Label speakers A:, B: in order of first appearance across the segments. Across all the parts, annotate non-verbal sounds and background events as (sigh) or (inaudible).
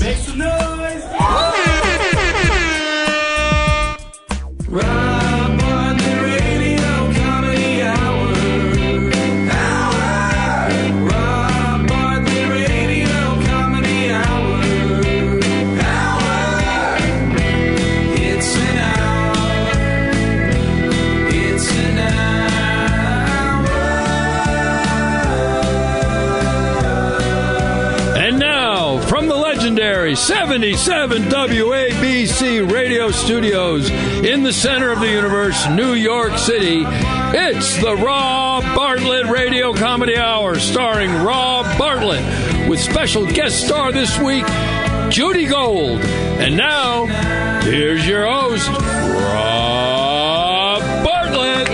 A: noise. Rob on the radio comedy hour. Hour. Rob on the radio comedy hour. Hour. It's an hour. It's an hour.
B: And now, from the legendary 77 WABC radio studios in the center of the universe, New York City, it's the Rob Bartlett Radio Comedy Hour, starring Rob Bartlett, with special guest star this week, Judy Gold. And now, here's your host, Rob Bartlett.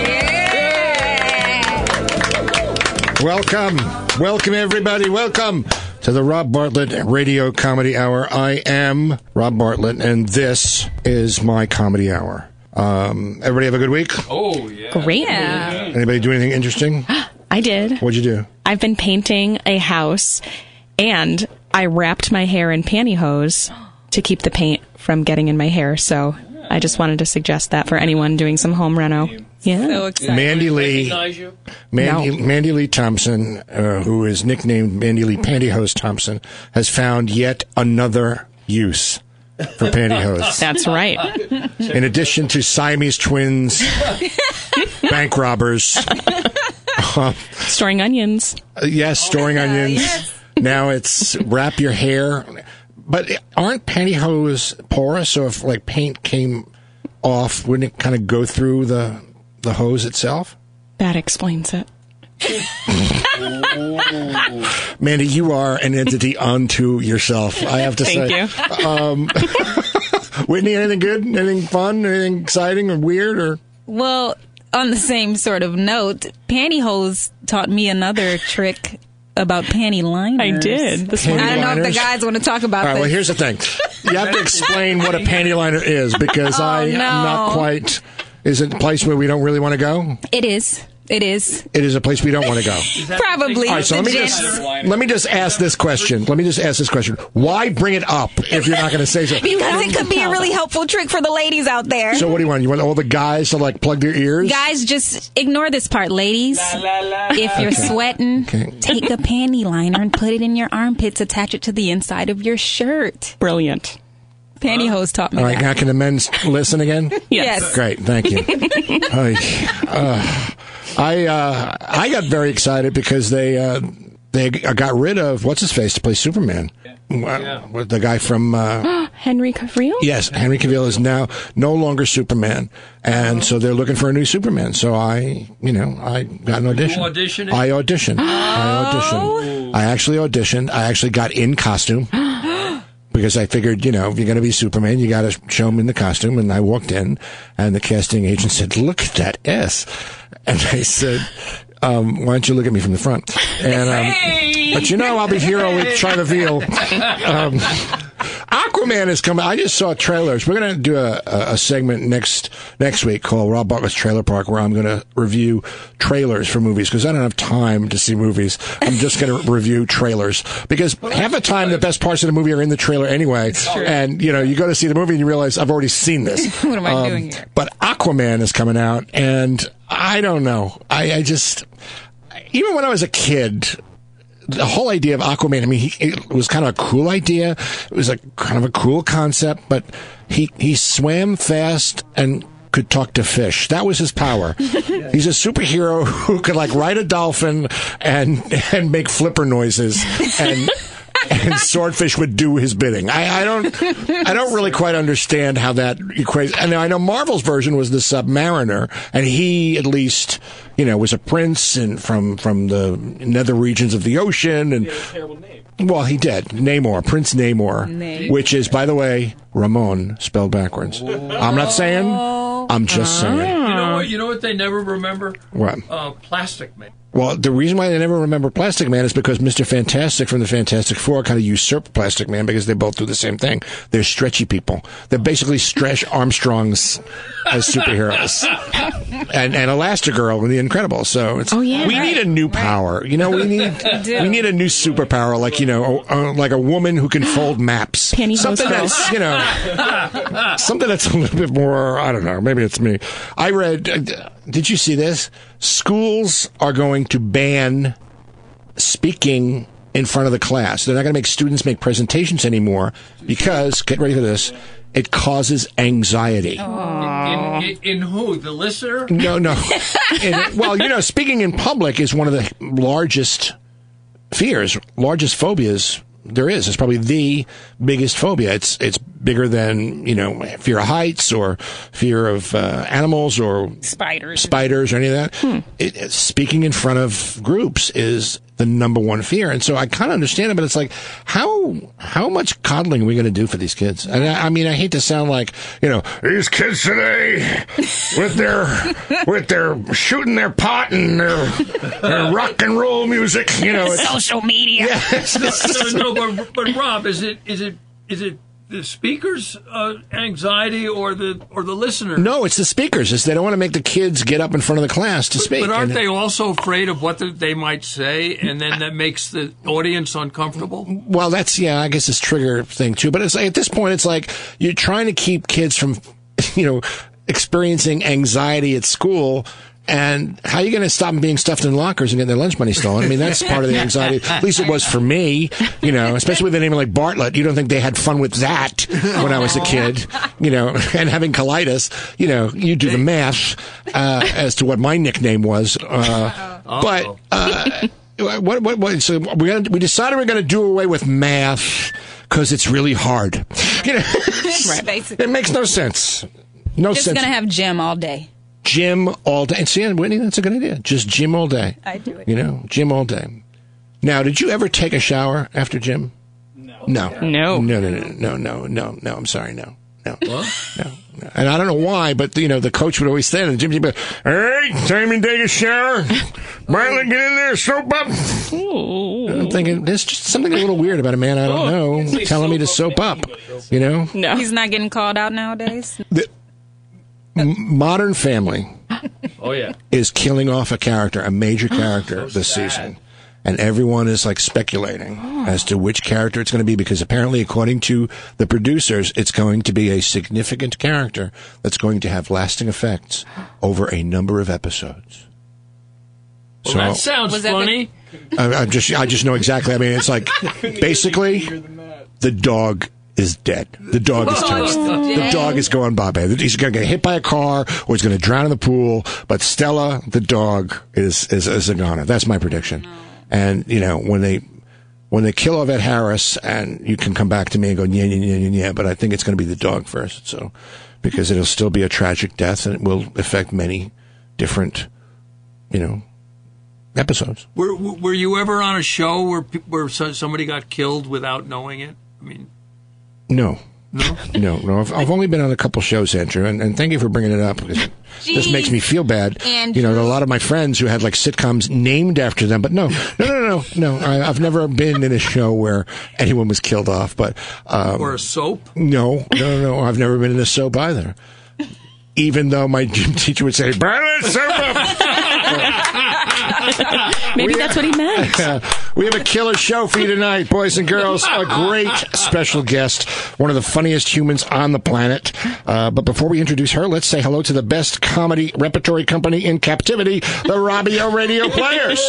C: Welcome, welcome everybody, welcome to the Rob Bartlett Radio Comedy Hour. I am Rob Bartlett, and this is my comedy hour. Um, everybody have a good week.
B: Oh, yeah.
D: Great.
C: Anybody do anything interesting?
D: I did.
C: What'd you do?
D: I've been painting a house and I wrapped my hair in pantyhose to keep the paint from getting in my hair. So I just wanted to suggest that for anyone doing some home reno. Yeah.
E: So excited.
C: Mandy Lee,
B: Recognize you?
C: Mandy, Mandy Lee Thompson, uh, who is nicknamed Mandy Lee Pantyhose Thompson, has found yet another
B: (laughs)
C: use for pantyhose.
D: That's right.
C: in (laughs) addition to Siamese twins, bank
D: (laughs)
C: robbers, Um,
D: Storing onions.
C: uh, yes, storing onions. Now it's wrap your hair. But aren't pantyhose porous? So if like paint came off, wouldn't it kind of go through the the hose itself?
D: That explains
C: (laughs)
D: it.
C: Mandy, you are an
D: (laughs)
C: entity unto yourself. I have to
D: Thank
C: say. Um,
D: you.
C: (laughs) Whitney, anything good? Anything fun? Anything exciting or weird? Or
E: Well, on the same sort of note, pantyhose taught me another trick about panty liners.
D: I did. This
C: Panty
E: I
D: morning.
E: don't know if
C: liners?
E: the guys want to talk about
C: all right.
E: this.
C: Well, here's the thing.
E: (laughs)
C: You have to explain what a panty liner is because I am
E: Oh, no.
C: not quite. Is it a place where we don't really want to go?
E: it is. It is
C: It is a place we don't want
E: (laughs)
C: to go.
E: probably
C: All right, so
E: the
C: let me
E: gents.
C: just let me just ask this question. Let me just ask this question. Why bring it up if you're not going to
E: (laughs)
C: say so?
E: because it could be a really helpful trick for the ladies out there.
C: So what do you want? You want all the guys to like plug their ears?
E: Guys, just ignore this part, ladies. If you're sweating,
C: Okay.
E: take a panty liner and put it in your armpits. Attach it to the inside of your shirt.
D: Brilliant.
E: Pantyhose taught me
C: All right,
E: that.
C: now can the men listen again?
D: Yes.
E: Yes.
C: Great, thank you. Ay, uh, I uh, I got very excited because they uh, they got rid of what's his face to play Superman. Well, The guy from
D: (gasps)
C: uh, (gasps)
D: Henry Cavill?
C: Yes, Henry Cavill is now no longer Superman, and so they're looking for a new Superman. So I, you know, I got an audition.
B: auditioning?
C: I auditioned. I auditioned. I actually auditioned. I actually got in costume because I figured, you know, if you're going to be Superman, you got to show him in the costume. And I walked in, and the casting agent said, "Look at that S," and I said. Um, why don't you look at me from the front? And um, but you know I'll be here all week trying to feel. um,
E: Um,
C: (laughs) Aquaman is coming. I just saw trailers. We're going to do a, a, a segment next next week called Rob Bartlett's Trailer Park, where I'm going to review trailers for movies because I don't have time to see movies. I'm
E: (laughs)
C: just going to review trailers because half the time the best parts of the movie are in the trailer anyway. And you know, you go to see the movie and you realize I've already seen this.
E: (laughs)
C: Um,
E: What am I doing here?
C: But Aquaman is coming out, and I don't know. I, I just even when I was a kid, the whole idea of Aquaman. I mean, he, it was kind of a cool idea. It was a kind of a cool concept, but he he swam fast and could talk to fish. That was his power. He's a superhero who could like ride a dolphin and and make flipper noises and. And swordfish would do his bidding. I, I don't, I don't really quite understand how that equates. And I know Marvel's version was the Submariner, and he at least, you know, was a prince and from from the nether regions of the ocean, and well, he did. Namor, Prince Namor, which is, by the way, Ramon spelled backwards. I'm not saying. I'm just saying.
B: Oh. You know what? You know what they never remember?
C: What?
B: Uh, Plastic Man.
C: Well, the reason why I never remember Plastic Man is because Mr. Fantastic from the Fantastic Four kind of usurped Plastic Man because they both do the same thing. They're stretchy people. They're basically
D: (laughs)
C: stretch Armstrongs as superheroes. and and Elastigirl and the Incredibles. So it's,
D: Oh, yeah,
C: we
D: right,
C: need a new power. You know, we need
D: (laughs)
E: do.
C: we need a new superpower like, you know, a, a, like a woman who can fold maps.
D: Pantyhose
C: Something
D: girl.
C: that's, you know, (laughs) something that's a little bit more, I don't know, maybe it's me. I read uh, did you see this? Schools are going to ban speaking in front of the class. They're not going to make students make presentations anymore because get ready for this. It causes anxiety.
B: Oh. In, in, in who? The listener? (laughs)
C: No, no. And, well, you know, speaking in public is one of the largest fears, largest phobias there is. It's probably the biggest phobia. It's it's bigger than you know fear of heights or fear of uh, animals or
E: Spiders.
C: spiders or any of that. It, it- speaking in front of groups is the number one fear, and so I kind of understand it. But it's like, how how much coddling are we going to do for these kids? And I, I mean, I hate to sound like you know these kids today with their with their shooting their pot and their, their rock and roll music. You know, it's,
E: Social media.
C: it's,
B: (laughs)
C: it's-
B: no, but, but Rob, is it is it is it the speaker's uh, anxiety or the or the listener?
C: no, it's the speakers. It's they don't want to make the kids get up in front of the class to speak.
B: But aren't
C: And-
B: they also afraid of what they might say, and then that makes the audience uncomfortable?
C: well, that's yeah, I guess it's trigger thing too. But it's like, at this point, it's like you're trying to keep kids from, (laughs) you know, experiencing anxiety at school. And how are you going to stop them being stuffed in lockers and getting their lunch money stolen? I mean, that's part of the anxiety. At least it was for me, you know, especially with a name like Bartlett. You don't think they had fun with that when I was a kid, you know, (laughs) and having colitis, you know, you do the math uh, as to what my nickname was. Uh, but uh, what, what, what, so we gonna, we decided we're going to do away with math because it's really hard. You know,
E: (laughs) Basically.
C: Uh, it makes no sense. No
E: Just
C: sense.
E: gonna have gym all day.
C: gym all day. And see, and Whitney, that's a good idea. Just gym all day.
E: I do it.
C: You know, gym all day. Now, did you ever take a shower after gym? No. No.
D: No.
C: No. No. No. No. No. No. no I'm sorry. No. No. No. no. And I don't know why, but you know, the coach would always stand in the gym. He'd be, "All right, time to take a shower. Marlon, get in there, soap up." I'm thinking there's just something a little weird about a man I don't know telling me to soap up. You know,
D: No.
E: He's not getting called out
C: (laughs)
E: nowadays.
C: Modern Family
B: Oh yeah,
C: is killing off a character,
B: (gasps)
C: a major character this season. And everyone is like
B: (gasps)
C: speculating as to which character it's going to be because apparently, according to the producers, it's going to be a significant character that's going to have lasting effects over a number of episodes.
B: well, that
C: so
B: sounds
E: that the-
B: funny.
C: I, I just, I just know exactly. I mean, it's (laughs) like basically the dog is dead. The dog is toast. The dog is going Bombay. He's going to get hit by a car or he's going to drown in the pool. But Stella, the dog, is is, is a goner. That's my prediction. And you know when they when they kill off Ed Harris, and you can come back to me and go yeah yeah yeah yeah yeah. But I think it's going to be the dog first. So because it'll still be a tragic death and it will affect many different you know episodes.
B: Were were you ever on a show where pe- where so- somebody got killed without knowing it? I mean,
C: No. No, (laughs) no, no. I've, I've only been on a couple shows, Andrew, and, and thank you for bringing it up because it just makes me feel bad.
E: Andrew.
C: You know, a lot of my friends who had like sitcoms named after them, but no, no, no, no, no. I, I've never been in a show where anyone was killed off, but um,
B: or
E: (gasps)
B: a soap?
C: no, no, no. I've never been in a soap either. Even though my (laughs) gym teacher would say, "Burn it, soap up."
D: (laughs) Maybe that's what he meant.
C: Uh, (laughs) we have a killer show for you tonight, boys and girls. A great special guest, one of the funniest humans on the planet. Uh, but before we introduce her, let's say hello to the best comedy repertory company in captivity, the Robbio Radio Players.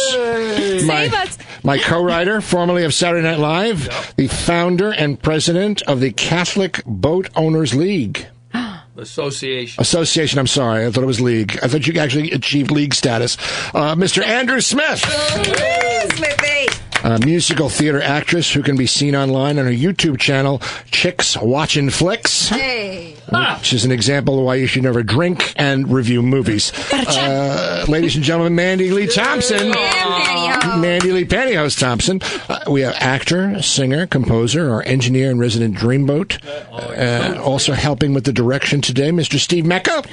C: my,
E: Save us.
C: my co-writer, formerly of Saturday Night Live, the founder and president of the Catholic Boat Owners League.
B: Association.
C: Association, I'm sorry. I thought it was league. I thought you actually achieved league status. Uh, Mr. Andrew Smith. a musical theater actress who can be seen online on her YouTube channel, Chicks Watchin' Flicks.
E: Hey.
C: Which is an example of why you should never drink and review movies. Uh, ladies and gentlemen, Mandy Lee Thompson. Mandy Lee Pantyhose Thompson. Uh, we have actor, singer, composer, our engineer and resident dreamboat. Uh, also helping with the direction today, Mr. Steve Mecca.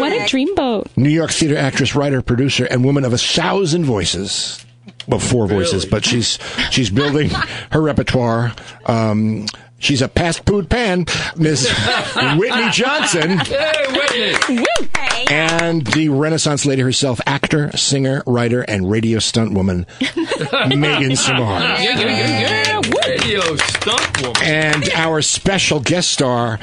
D: What a dreamboat.
C: New York theater actress, writer, producer, and woman of a thousand voices. Well, four voices,
B: Really?
C: but she's she's building her repertoire. Um, she's a past food pan, Miss Whitney
B: (laughs)
C: Johnson,
B: Hey, Whitney.
C: and the Renaissance lady herself, actor, singer, writer, and radio stunt woman, Megan Samar.
B: Yeah, yeah, yeah. Radio stunt woman.
C: And our special guest star,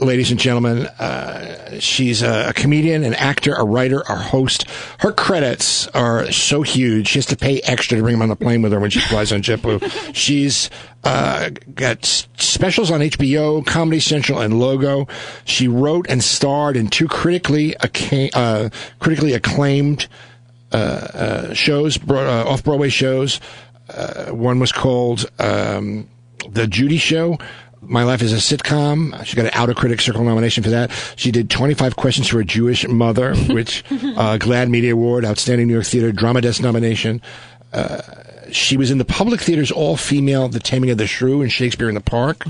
C: ladies and gentlemen, uh, she's a, a comedian, an actor, a writer, a host. Her credits are so huge; she has to pay extra to bring them on the plane with her when she flies on JetBlue. she's uh, got s- specials on HBO, Comedy Central, and Logo. She wrote and starred in two critically acca- uh, critically acclaimed shows, bro- uh, off Broadway shows. Uh, one was called um, The Judy Show. My Life is a Sitcom. She got an Outer Critic Circle nomination for that. She did 25 Questions for a Jewish Mother, which uh, Glad Media Award, Outstanding New York Theater Drama Desk nomination. Uh, she was in the public theater's all-female The Taming of the Shrew and Shakespeare in the Park.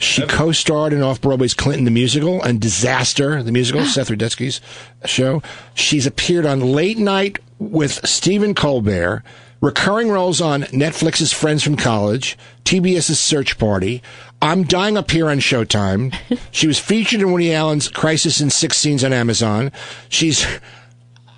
C: She co-starred in off-Broadway's Clinton the Musical and Disaster the Musical, Seth Rudetsky's show. She's appeared on Late Night with Stephen Colbert, recurring roles on Netflix's Friends from College, TBS's Search Party, I'm Dying Up Here on Showtime. She was featured in Woody Allen's Crisis in Six Scenes on Amazon. She's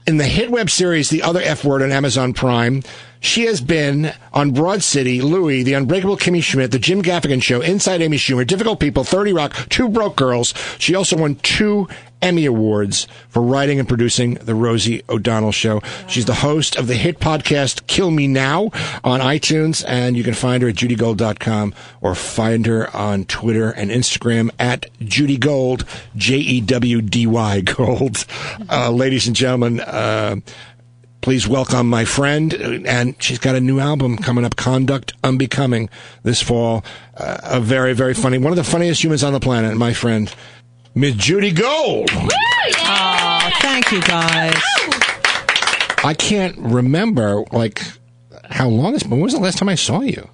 C: in the hit web series The Other F Word on Amazon Prime. She has been on Broad City, Louie, The Unbreakable Kimmy Schmidt, The Jim Gaffigan Show, Inside Amy Schumer, Difficult People, 30 Rock, Two Broke Girls. She also won two Emmy Awards for writing and producing The Rosie O'Donnell Show. She's the host of the hit podcast Kill Me Now on iTunes, and you can find her at judygold.com or find her on Twitter and Instagram at Judy Gold, J E W D Y Gold. Uh, ladies and gentlemen, uh, please welcome my friend, uh, and she's got a new album coming up, Conduct Unbecoming, this fall. Uh, a very, very funny, one of the funniest humans on the planet, my friend, Miss Judy Gold.
F: Thank you guys.
C: I can't remember like how long it's been. When was the last time I saw you?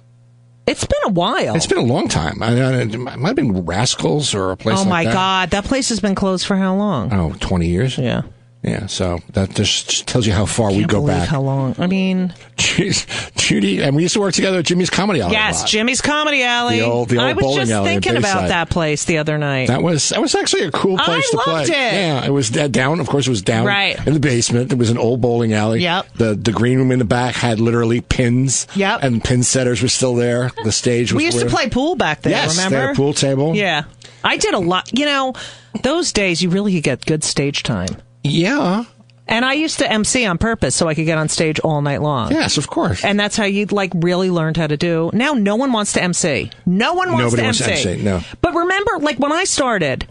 F: It's been a while.
C: It's been a long time. I, I, it might have been Rascals or a place.
F: oh
C: like
F: my
C: that.
F: god, that place has been closed for how long?
C: Oh, 20 years.
F: yeah.
C: Yeah. So that just just tells you how far we
F: Can't
C: go
F: believe
C: back.
F: How long? I mean,
C: Jeez, (laughs) Judy and we used to work together at Jimmy's Comedy Alley. a
F: yes,
C: lot.
F: Jimmy's Comedy Alley.
C: The old- the
F: I
C: old
F: was
C: bowling
F: just
C: alley in
F: thinking about
C: Bayside.
F: that place the other night.
C: That was that was actually a cool
F: I
C: place to play.
F: loved it.
C: Yeah, it was da- down. Of course, it was down
F: Right.
C: in the basement. It was an old bowling alley.
F: Yep.
C: The the green room in the back had literally pins.
F: Yep.
C: And pin setters were still there. The stage was.
F: we used to
C: where-
F: play pool back there.
C: Yes,
F: remember
C: they had a pool table.
F: Yeah, I did a lot. You know, those days you really could get good stage time.
C: Yeah.
F: And I used to MC on purpose so I could get on stage all night long.
C: Yes, of course.
F: And that's how you like really learned how to do. Now no one wants to MC. No one wants
C: Nobody
F: to
C: wants to
F: MC.
C: MC, no.
F: But remember, like when I started,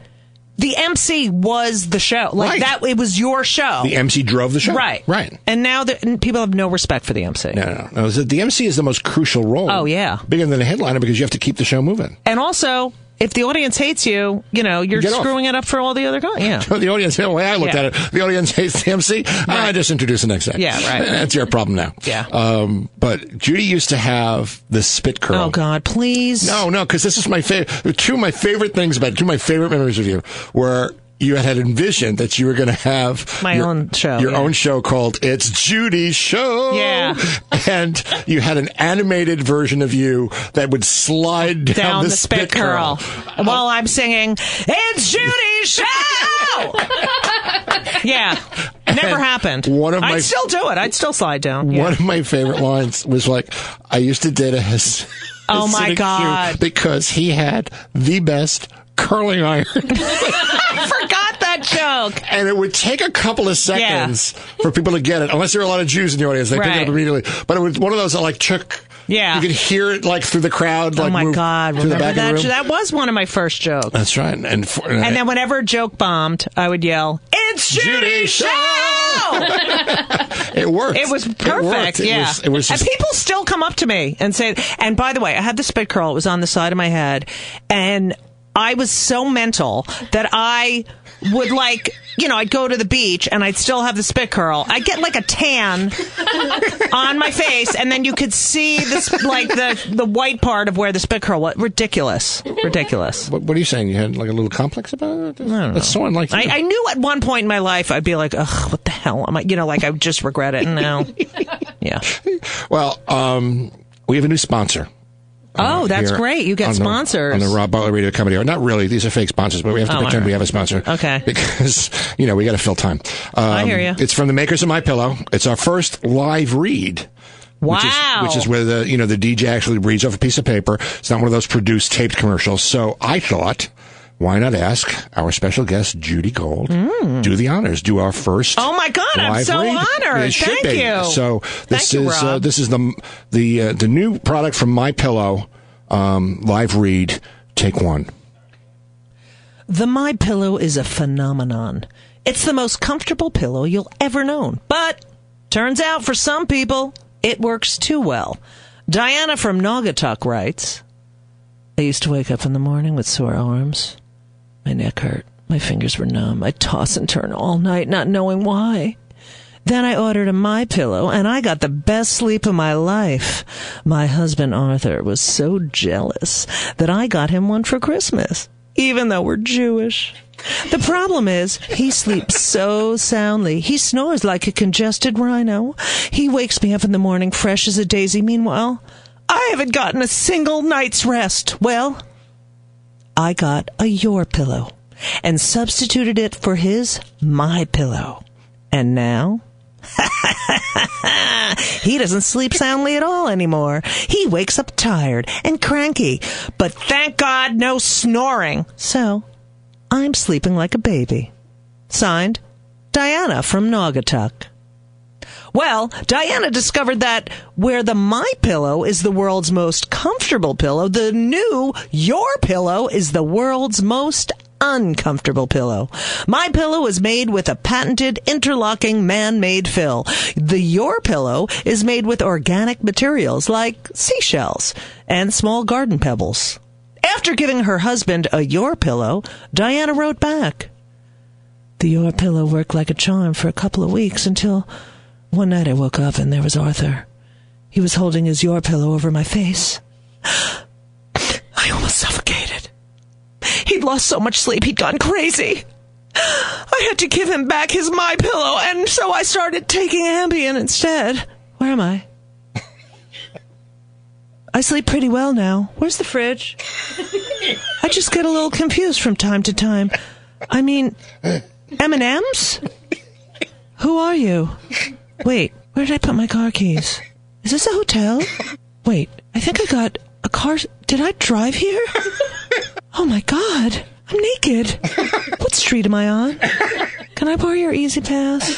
F: the MC was the show. Like
C: Right.
F: that, it was your show.
C: the MC drove the show.
F: Right.
C: Right.
F: And now the, and people have no respect for the MC.
C: No, no, no. The- The MC is the most crucial role.
F: Oh, yeah.
C: Bigger than the headliner because you have to keep the show moving.
F: And also, if the audience hates you, you know, you're
C: Get off.
F: screwing it up for all the other guys. Yeah.
C: But (laughs) the audience, the way I looked
F: Yeah.
C: at it, the audience hates the MC. I Ah, just introduce the next act.
F: Yeah,
C: (laughs)
F: right.
C: That's your problem now.
F: Yeah.
C: Um, but Judy used to have the spit curl.
F: Oh God, please.
C: No, no, because this is my favorite. Two of my favorite things about two of my favorite memories of you were you had envisioned that you were going to have
F: My own show,
C: your
F: yeah.
C: own show called "It's Judy's Show."
F: Yeah.
C: (laughs) and you had an animated version of you that would slide down,
F: down, the, spit, curl, while I'm singing, "It's Judy Show." yeah, never
C: And
F: happened.
C: one of my-
F: I'd still do it. I'd still slide down. Yeah.
C: One of my favorite lines was like, "I used to date a his, (laughs)
F: Oh, my
C: Hasidic Jew
F: God.
C: because he had the best curling
F: (laughs)
C: iron."
F: I forgot that joke.
C: and it would take a couple of seconds for people to get it, unless there are a lot of Jews in the audience. They pick it
F: Right.
C: up immediately. But it was one of those that like took.
F: Yeah.
C: you could hear it like through the crowd. Like
F: oh my
C: move
F: God!
C: through the
F: Remember
C: back
F: that?
C: of the room.
F: That was one of my first jokes.
C: That's right. And for,
F: And then whenever a joke bombed, I would yell, "It's Judy,
C: Judy
F: Show!"
C: (laughs) it worked.
F: It was
C: worked.
F: perfect.
C: It
F: yeah.
C: was, it was just,
F: and people still come up to me and say, and by the way, I had the spit curl. It was on the side of my head. And I was so mental that I would like, you know, I'd go to the beach and I'd still have the spit curl. I'd get like
C: (laughs)
F: a tan on my face, and then you could see this like the the white part of where the spit curl was. Ridiculous, ridiculous.
C: What, what are you saying? You had like a little complex about it? That's so unlike
F: I,
C: you.
F: I knew at one point in my life I'd be like, ugh, what the hell am I? You know, like I would just regret
C: (laughs)
F: it now. Yeah.
C: Well, um, we have a new sponsor.
F: Oh, that's
C: here
F: great. You get
C: on the-
F: sponsors.
C: on the Rob Butler Radio Comedy Hour. Not really; these are fake sponsors, but we have to
F: Oh,
C: pretend
F: all
C: we
F: right.
C: have a sponsor.
F: Okay.
C: (laughs) because you know we got to fill time. Um, I
F: hear ya.
C: It's from the makers of My Pillow. It's our first live read. Which is,
F: Wow.
C: which is where the you know the DJ actually reads off a piece of paper. It's not one of those produced taped commercials. So I thought, why not ask our special guest Judy Gold
F: Mm.
C: do the honors, do our first.
F: Oh, my God, I'm
C: live
F: so
C: read.
F: honored.
C: It should
F: Thank
C: be.
F: you.
C: So this
F: Thank you,
C: is uh,
F: Rob.
C: this is the the uh, the new product from My Pillow, um, live read. Take one.
F: The My Pillow is a phenomenon. It's the most comfortable pillow you'll ever known. But turns out for some people, it works too well. Diana from Naugatuck writes, I used to wake up in the morning with sore arms. My neck hurt. My fingers were numb. I toss and turn all night, not knowing why. Then I ordered a my pillow and I got the best sleep of my life. My husband Arthur was so jealous that I got him one for Christmas, even though we're Jewish. The problem is he sleeps so soundly. He snores like a congested rhino. He wakes me up in the morning fresh as a daisy. Meanwhile, I haven't gotten a single night's rest. Well, I got a your pillow and substituted it for his my pillow. And now (laughs) he doesn't sleep soundly at all anymore. He wakes up tired and cranky, but thank God no snoring. So I'm sleeping like a baby. Signed, Diana from Naugatuck. Well, Diana discovered that where the My Pillow is the world's most comfortable pillow, the new Your Pillow is the world's most uncomfortable pillow. My Pillow is made with a patented interlocking man-made fill. The Your Pillow is made with organic materials like seashells and small garden pebbles. After giving her husband a Your Pillow, Diana wrote back, the Your Pillow worked like a charm for a couple of weeks until one night I woke up and there was Arthur. He was holding his Your Pillow over my face. (gasps) I almost suffocated. He'd lost so much sleep, he'd gone crazy. (gasps) I had to give him back his My Pillow, and so I started taking Ambien instead. Where am I? (laughs) I sleep pretty well now. Where's the fridge? I just get a little confused from time to time. I mean, M and M's. Who are (laughs) you? Wait, where did I put my car keys? Is this a hotel? Wait, I think I got a car. Did I drive (laughs) here? Oh my god, I'm naked. What street am I on? Can I borrow your Easy (laughs) Pass?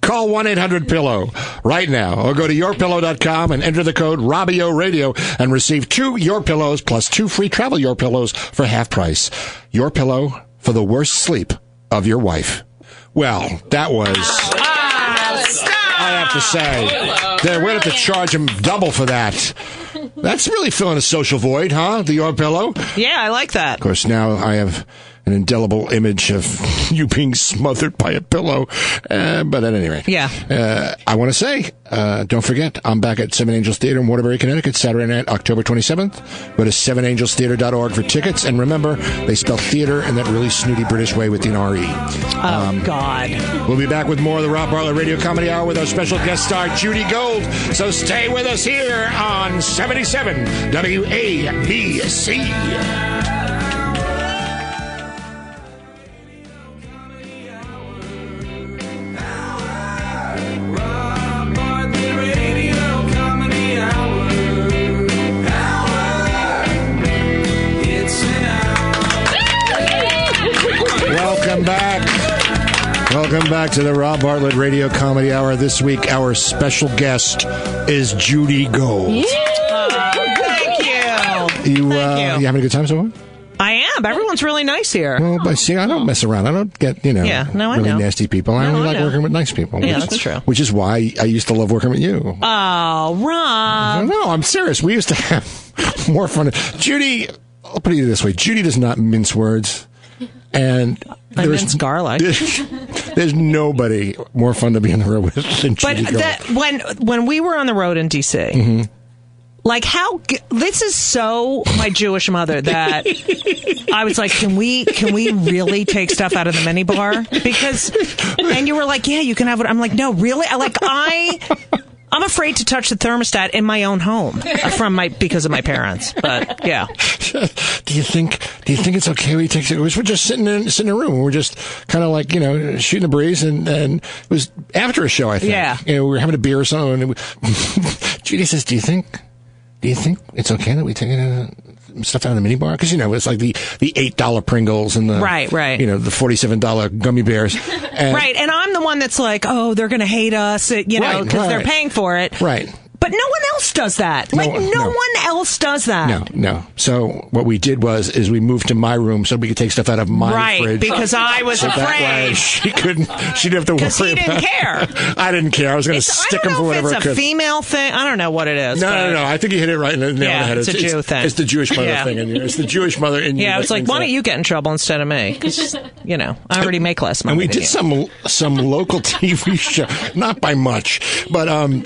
C: Call 1 800 Pillow right now or go to yourpillow.com and enter the code Robbio Radio and receive two Your Pillows plus two free travel Your Pillows for half price. Your Pillow for the worst sleep of your wife. Well, that was. I have to say, they're going to have to charge him double for that. That's really filling a social void, huh? The Your Pillow? Of
F: Yeah, I like that.
C: course, now I have an indelible image of (laughs) you being smothered by a pillow. Uh, but at any rate.
F: Yeah.
C: Uh, I want to say, uh, don't forget, I'm back at Seven Angels Theater in Waterbury, Connecticut, Saturday night, October 27th. Go to sevenangelstheater.org for tickets. And remember, they spell theater in that really snooty British way with an R-E.
F: Oh God.
C: We'll be back with more of the Rob Bartlett Radio Comedy Hour with our special guest star, Judy Gold. So stay with us here on 77 WABC.
A: Bartley Radio Comedy Hour. Hour. It's an hour.
C: Welcome back. Welcome back to the Rob Bartlett Radio Comedy Hour. This week, our special guest is Judy Gold.
F: Thank you.
C: You, uh,
F: you.
C: having a good time so far?
F: I am. Everyone's really nice here.
C: Well, but see, I don't mess around. I don't get you know
F: Yeah, no, I
C: really
F: know.
C: nasty people. I
F: No,
C: only
F: I
C: like
F: know.
C: working with nice people.
F: Yeah,
C: which,
F: that's true.
C: Which is why I used to love working with you.
F: Oh, Rob.
C: no, I'm serious. We (laughs) used to have more fun. Judy, I'll put it this way: Judy does not mince words. And
F: I
C: there's-
F: meant Garlic.
C: (laughs) There's nobody more fun to be on the road with than
F: But
C: Judy Garland.
F: that when when we were on the road in DC,
C: Mm-hmm.
F: like how g- this is so my Jewish mother that
C: (laughs)
F: (laughs) I was like, can we can we really take stuff out of the minibar? Because and you were like, yeah, you can have it. I'm like, no, really? I like I. I'm afraid to touch the thermostat in my own home from my because of my parents. But
C: (laughs)
F: yeah,
C: do you think do you think it's okay we take we're just sitting in sitting in a room we're just kind of like you know shooting the breeze and and it was after a show I think
F: Yeah.
C: you know, we were having a beer or something and we, (laughs) Judy says do you think do you think it's okay that we take uh, stuff out of the minibar because you know it's like the the eight dollar Pringles and the
F: Right, right.
C: you know the forty seven dollar gummy
F: (laughs)
C: bears and,
F: right. And I'm the one that's like, oh, they're gonna hate us, you know,
C: Right,
F: because they're
C: right.
F: paying for it.
C: right
F: But no one else does that. like
C: one-
F: no,
C: no.
F: one else does that.
C: no no so what we did was is we moved to my room so we could take stuff out of my
F: right
C: fridge
F: because I was
C: So that way
F: afraid.
C: she couldn't. She didn't have to worry.
F: 'Cause he
C: about-
F: didn't care.
C: (laughs) I didn't care. I was going to
F: It's-
C: stick
F: I
C: him
F: don't
C: for
F: know if
C: whatever
F: it's a
C: I could.
F: female thing. I don't know what it is.
C: no,
F: but-
C: no, no. I think you hit it right in the nail on
F: Yeah,
C: the head.
F: it's a Jew thing.
C: It's the Jewish mother
F: Yeah.
C: thing, and it's the Jewish mother. In you
F: Yeah, I
C: that
F: was like,
C: thinks
F: why don't
C: that.
F: you get in trouble instead of me? 'Cause, you know, I already make less money.
C: And we
F: than
C: did
F: you.
C: some some local (laughs) TV show, not by much, but um,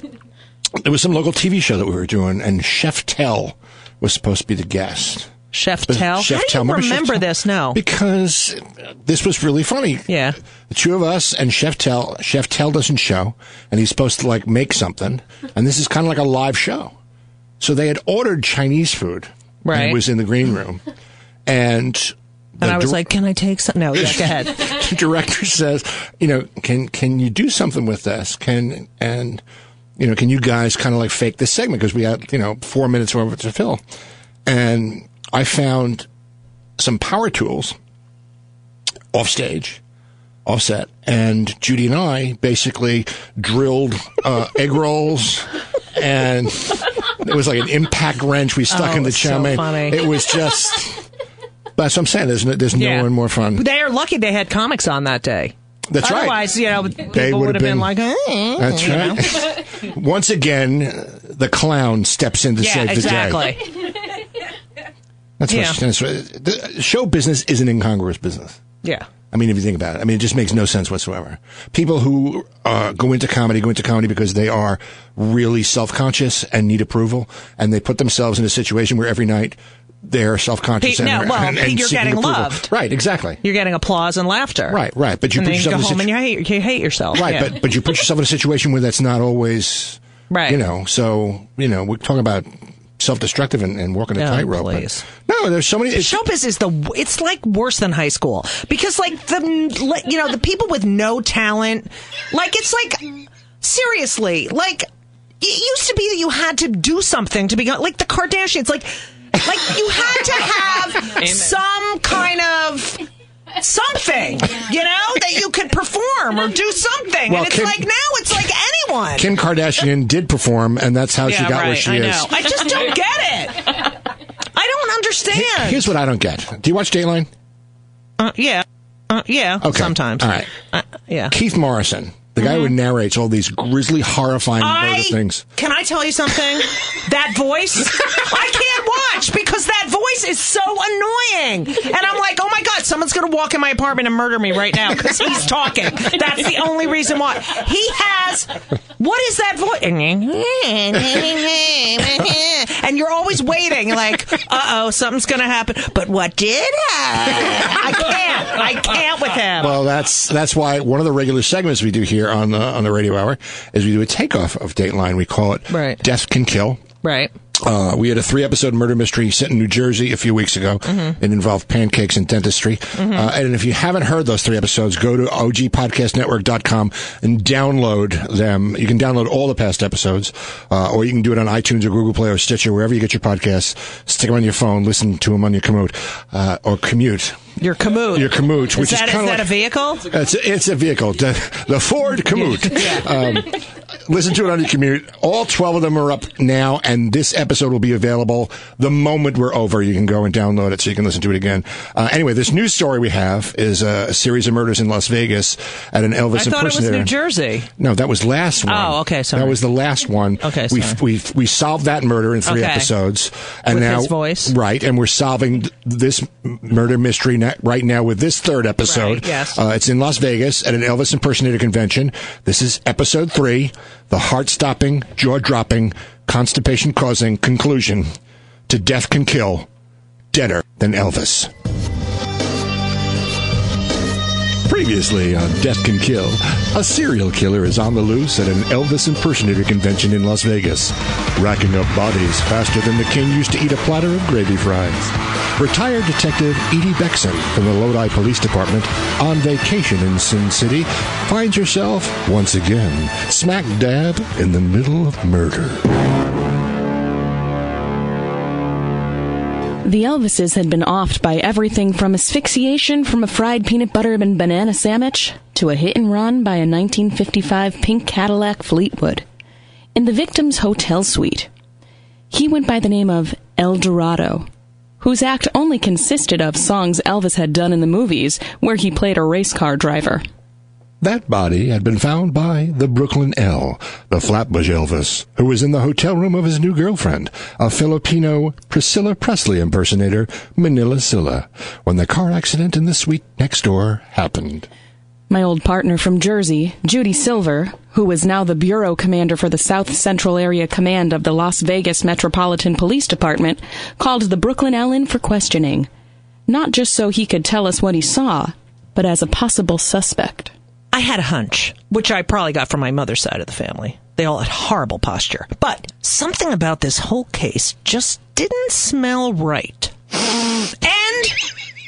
C: there was some local TV show that we were doing, and Chef Tell was supposed to be the guest.
F: Chef Tell.
C: Chef
F: How do
C: Tell.
F: you
C: Remember Chef
F: remember
C: Tell?
F: this? No.
C: Because this was really funny.
F: Yeah.
C: The two of us and Chef Tell. Chef Tell doesn't show, and he's supposed to like make something, and this is kind of like a live show. So they had ordered Chinese food. and
F: Right.
C: It was in the green room, and.
F: And I was like, can I take some? No, yeah, go ahead.
C: (laughs) the director says, you know, can can you do something with this? Can and you know, can you guys kind of like fake this segment because we had you know four minutes or whatever to fill? And I found some power tools off stage, offset, and Judy and I basically drilled uh, egg rolls and. It was like an impact wrench we stuck
F: Oh,
C: in the
F: it's so
C: chow mein.
F: funny.
C: It was just. That's what I'm saying. There's no, there's no
F: Yeah.
C: one more fun.
F: They are lucky they had comics on that day.
C: That's right.
F: Otherwise, you know, people
C: would've
F: would have been,
C: been-
F: like, eh.
C: That's right. Once again, the clown steps in to
F: yeah,
C: save the day.
F: exactly.
C: That's
F: Yeah.
C: what, that's what- the show business is an incongruous business.
F: Yeah.
C: I mean, if you think about it, I mean, it just makes no sense whatsoever. People who uh, go into comedy go into comedy because they are really self-conscious and need approval, and they put themselves in a situation where every night they're self-conscious
F: Pe-
C: and,
F: no, well,
C: and, and
F: you're
C: seeking
F: getting
C: approval.
F: loved.
C: Right, exactly.
F: You're getting applause and laughter.
C: Right, right, but you
F: and
C: put
F: then you go
C: yourself in a
F: home and
C: situ-
F: you hate, you hate yourself.
C: Right,
F: Oh, Yeah.
C: but but you put yourself in a situation where that's not always
F: Right.
C: You know, so you know we're talking about self-destructive and, and walking a
F: Oh,
C: tightrope. but-
F: please.
C: No, there's so many. It's,
F: showbiz is the it's like worse than high school because like the you know the people with no talent like it's like seriously like it used to be that you had to do something to be like the kardashians like like you had to have some kind of something you know that you could perform or do something
C: Well,
F: and it's
C: Kim-
F: like now it's like anyone
C: Kim Kardashian did perform, and that's how she
F: Yeah,
C: got where
F: right,
C: she
F: I
C: is.
F: know. i just don't get it i don't understand
C: Here's what I don't get. Do you watch Dateline?
F: Uh, yeah. Uh, yeah.
C: Okay.
F: Sometimes.
C: All right.
F: Uh, yeah. Mm-hmm.
C: Keith Morrison, the guy who narrates all these grisly, horrifying murder things.
F: Can I tell you something? that voice, I can't watch because that voice is so annoying. And I'm like, oh my god, someone's gonna walk in my apartment and murder me right now because he's talking. That's the only reason why he has. What is that voice? and you're always waiting, like, uh oh, something's gonna happen. But what did happen? I can't. I can't with him.
C: Well, that's that's why one of the regular segments we do here on the on the radio hour is we do a takeoff of Dateline. We call it
F: Right.
C: "Death Can Kill."
F: right.
C: Uh, we had a three episode murder mystery set in New Jersey a few weeks ago.
F: Mm-hmm.
C: It involved pancakes and dentistry. Uh, and if you haven't heard those three episodes, go to ogpodcastnetwork.com and download them. You can download all the past episodes, uh, or you can do it on iTunes or Google Play or Stitcher, wherever you get your podcasts. Stick them on your phone, listen to them on your commute, uh, or commute.
F: Your commute.
C: Your commute, which
F: is that,
C: is kind
F: is
C: of
F: that a vehicle?
C: it's, it's a vehicle, the, the Ford Commute. Um, Listen to it on your commute. All 12 of them are up now, and this episode will be available the moment we're over. You can go and download it so you can listen to it again. Uh, anyway, this news story we have is uh, a series of murders in Las Vegas at an Elvis
F: I thought it was
C: impersonator.
F: New Jersey.
C: No, that was last one.
F: Oh, okay, sorry.
C: That was the last one.
F: Okay,
C: we
F: sorry.
C: we we solved that murder in three
F: Okay.
C: episodes, and
F: With
C: now
F: his voice.
C: right? And we're solving th- this m- murder mystery na- right now with this third episode.
F: Right, yes.
C: uh, it's in Las Vegas at an Elvis impersonator convention. This is episode three, the heart-stopping, jaw-dropping, constipation-causing conclusion to death can kill, deader than Elvis. Previously on Death Can Kill, a serial killer is on the loose at an Elvis impersonator convention in Las Vegas, racking up bodies faster than the king used to eat a platter of gravy fries. Retired Detective Edie Bexon from the Lodi Police Department, on vacation in Sin City, finds herself, once again, smack dab in the middle of murder.
D: The Elvises had been offed by everything from asphyxiation from a fried peanut butter and banana sandwich to a hit and run by a 1955 pink Cadillac Fleetwood in the victim's hotel suite. He went by the name of El Dorado, whose act only consisted of songs Elvis had done in the movies where he played a race car driver.
C: That body had been found by the Brooklyn L, the Flatbush Elvis, who was in the hotel room of his new girlfriend, a Filipino Priscilla Presley impersonator, Manila Silla, when the car accident in the suite next door happened.
D: My old partner from Jersey, Judy Silver, who was now the bureau commander for the South Central Area Command of the Las Vegas Metropolitan Police Department, called the Brooklyn L in for questioning, not just so he could tell us what he saw, but as a possible suspect.
F: I had a hunch, which I probably got from my mother's side of the family. They all had horrible posture. But something about this whole case just didn't smell right. And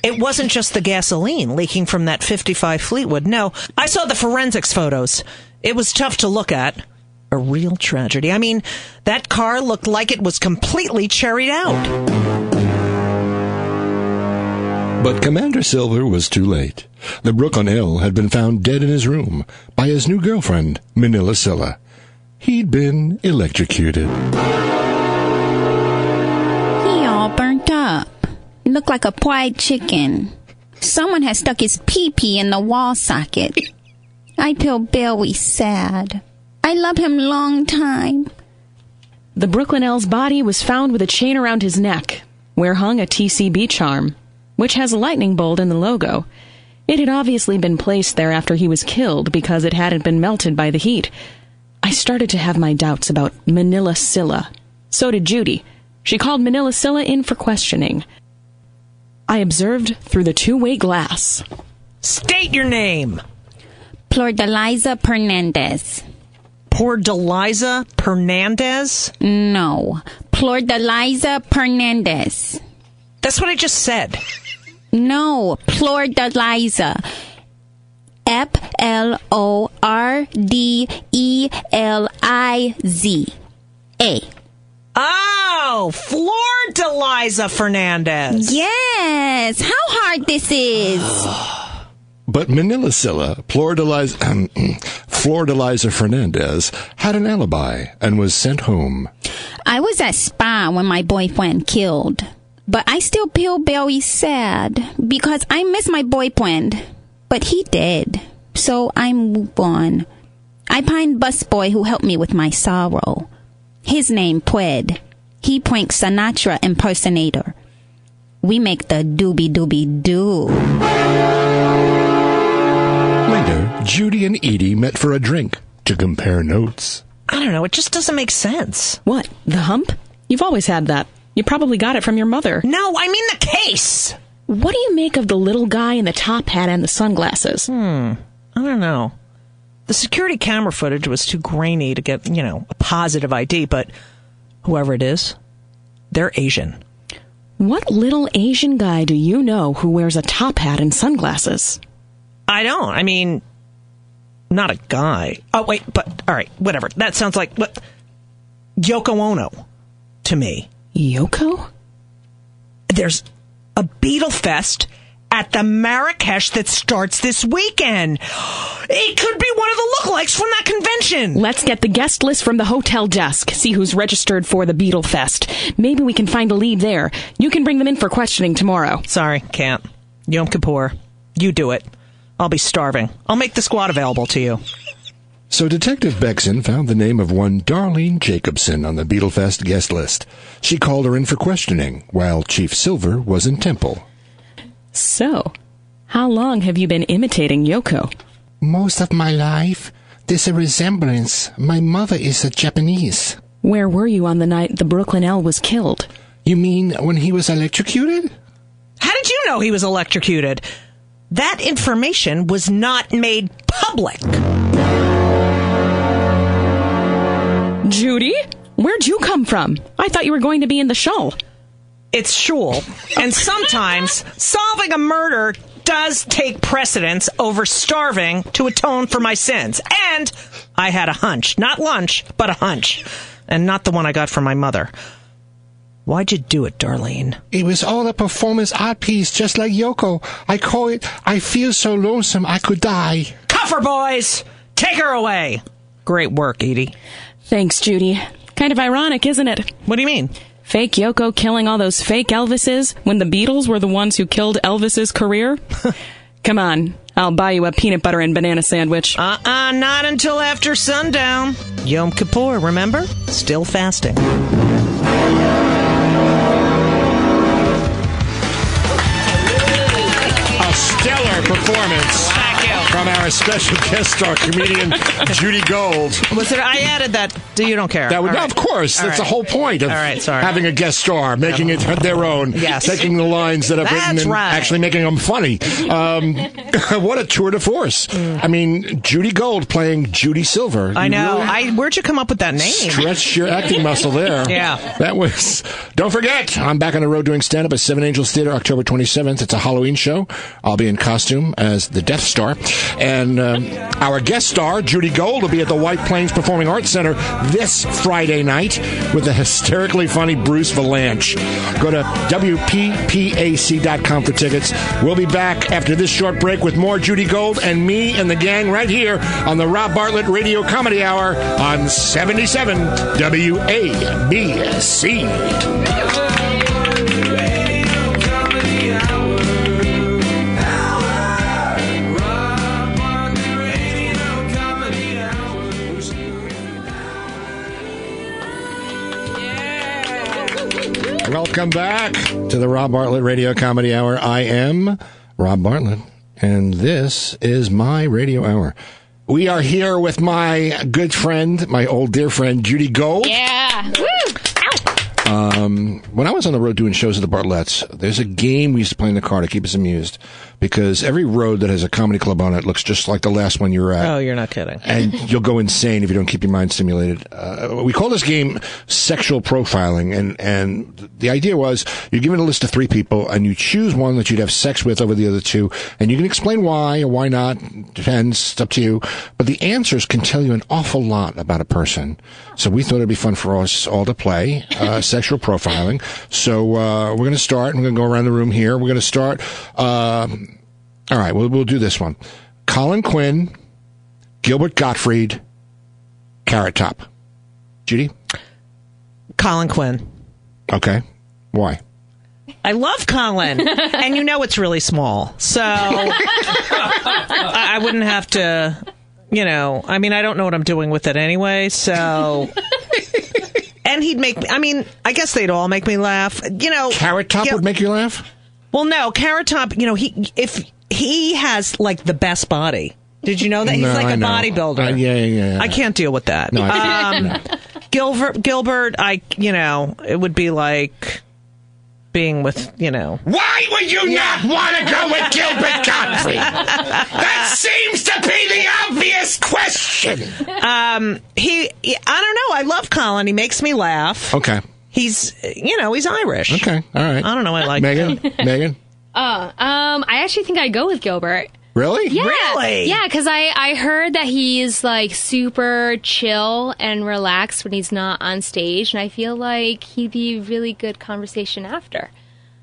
F: it wasn't just the gasoline leaking from that 55 Fleetwood. No, I saw the forensics photos. It was tough to look at. A real tragedy. I mean, that car looked like it was completely cherried out.
C: But Commander Silver was too late. The Brooklyn L had been found dead in his room by his new girlfriend, Manila Silla. He'd been electrocuted.
G: He all burnt up. Looked like a fried chicken. Someone has stuck his pee pee in the wall socket. I tell Billy sad. I love him long time.
D: The Brooklyn L's body was found with a chain around his neck, where hung a TCB charm, which has a lightning bolt in the logo. It had obviously been placed there after he was killed because it hadn't been melted by the heat. I started to have my doubts about Manila Silla. So did Judy. She called Manila Silla in for questioning. I observed through the two way glass.
F: State your name.
G: Plordeliza Hernandez.
F: Poor Deliza Hernandez.
G: No. Plordeliza Hernandez.
F: That's what I just said.
G: No. Plordeliza. F L O R D E L I Z A.
F: Oh, Flor Deliza Fernandez.
G: Yes. How hard this is.
C: But Manila Silla, (clears throat) Floridaliza, Floridaliza Fernandez, had an alibi and was sent home.
G: I was at spa when my boyfriend killed, but I still feel very sad because I miss my boyfriend. But he dead, so I move on. I find busboy who helped me with my sorrow. His name Pred. He pranks Sinatra impersonator. We make the doobie doobie doo.
C: Later, Judy and Edie met for a drink to compare notes.
F: I don't know. It just doesn't make sense.
D: What? The hump? You've always had that. You probably got it from your mother.
F: No, I mean the case.
D: What do you make of the little guy in the top hat and the sunglasses?
F: Hmm. I don't know. The security camera footage was too grainy to get, you know, a positive ID, but whoever it is, they're Asian.
D: What little Asian guy do you know who wears a top hat and sunglasses?
F: I don't. I mean, not a guy. Oh, wait, but all right, whatever. That sounds like what Yoko Ono to me.
D: Yoko?
F: there's a Beetle Fest at at the Marrakesh that starts this weekend. It could be one of the lookalikes from that convention.
H: Let's get the guest list from the hotel desk. See who's registered for the Beetle Fest. Maybe we can find a lead there. You can bring them in for questioning tomorrow.
F: Sorry, can't. Yom Kippur. You do it. I'll be starving. I'll make the squad available to you.
C: So Detective Bexon found the name of one Darlene Jacobson on the Beetlefest guest list. She called her in for questioning, while Chief Silver was in Temple.
H: So, how long have you been imitating Yoko?
C: Most of my life, there's a resemblance. My mother is a Japanese.
H: Where were you on the night the Brooklyn L was killed?
C: You mean when he was electrocuted?
F: How did you know he was electrocuted? That information was not made public.
H: Judy? Where'd you come from? I thought you were going to be in the show.
F: It's shul, and sometimes solving a murder does take precedence over starving to atone for my sins. And I had a hunch, not lunch, but a hunch, and not the one I got from my mother. Why'd you do it, Darlene?
C: It was all a performance art piece, just like Yoko. I call it I Feel So Lonesome I Could Die.
F: Cover boys, take her away. Great work, Edie.
H: Thanks, Judy. Kind of ironic, isn't it?
F: What do you mean?
H: Fake Yoko killing all those fake Elvises when the Beatles were the ones who killed Elvis's
F: (laughs)
H: career? Come on, I'll buy you a peanut butter and banana sandwich.
F: Uh uh not until after sundown. Yom Kippur, remember? Still fasting.
C: A stellar performance from our special guest star comedian (laughs) Judy Gold.
F: Was there? I added that. Do you don't care?
C: That would,
F: All
C: no,
F: right.
C: of course,
F: All
C: that's the
F: right.
C: whole point of
F: All right, sorry.
C: having a guest star, making it their own,
F: Yes.
C: taking the lines that I've written
F: That's
C: and
F: right.
C: actually making them funny.
F: (laughs)
C: Um, (laughs) what a tour de force! I mean, Judy Gold playing Judy Silver.
F: I
C: You
F: know.
C: really
F: I where'd you come up with that name?
C: Stretch your acting muscle there.
F: (laughs) Yeah.
C: That was. Don't forget, I'm back on the road doing stand up at Seven Angels Theater October 27th. It's a Halloween show. I'll be in costume as the Death Star. And um, our guest star, Judy Gold, will be at the White Plains Performing Arts Center this Friday night with the hysterically funny Bruce Valanche. Go to WPPAC.com for tickets. We'll be back after this short break with more Judy Gold and me and the gang right here on the Rob Bartlett Radio Comedy Hour on 77 WABC.
A: Comedy Hour. Hour. Rob Bartlett Radio Comedy Hour.
C: Welcome back to the Rob Bartlett Radio Comedy Hour. I am Rob Bartlett, and this is my radio hour. We are here with my good friend, my old dear friend, Judy Gold.
G: Yeah. Woo.
C: Um, When I was on the road doing shows at the Bartletts, there's a game we used to play in the car to keep us amused because every road that has a comedy club on it looks just like the last one you were at.
F: Oh, you're not kidding.
C: and you'll go insane if you don't keep your mind stimulated. Uh, we call this game sexual profiling, and and the idea was you're given a list of three people, and you choose one that you'd have sex with over the other two, and you can explain why or why not. Depends, it's up to you. But the answers can tell you an awful lot about a person. So we thought it'd be fun for us all to play uh, sexual profiling. So uh, we're going to start. and We're going to go around the room here. We're going to start. Uh, all right, we'll, we'll do this one. Colin Quinn. Gilbert Gottfried, Carrot Top. Judy?
F: Colin Quinn.
C: Okay. Why?
F: I love Colin, and you know it's really small, so I, I wouldn't have to. You know, I mean, I don't know what I'm doing with it anyway, so. And he'd make. I mean, I guess they'd all make me laugh. You know,
C: Carrot Top
F: yeah,
C: would make you laugh?
F: Well, no, Carrot Top. You know, he if he has like the best body. Did you know that he's
C: No,
F: like a
C: I know.
F: bodybuilder?
C: Uh, (laughs) yeah, yeah, yeah.
F: I can't deal with that.
C: No,
I: Uh,
C: (laughs) I-
F: um, Gilbert, Gilbert, I, you know, it would be like being with, you know,
C: Why would you not want to go with
I: (laughs)
C: Gilbert
F: (laughs)
C: Gottfried? that seems to be the obvious question.
F: Um, he, he- I don't know. I love Colin. He makes me laugh.
C: Okay.
F: He's, you know, he's Irish.
C: Okay. All right.
F: I don't know. I like him.
C: Megan? Megan?
J: Um, I actually think I go with Gilbert.
C: Really?
J: Yeah.
F: Really?
J: Yeah, because I I heard that he's like super chill and relaxed when he's not on stage, and I feel like he'd be a really good conversation after.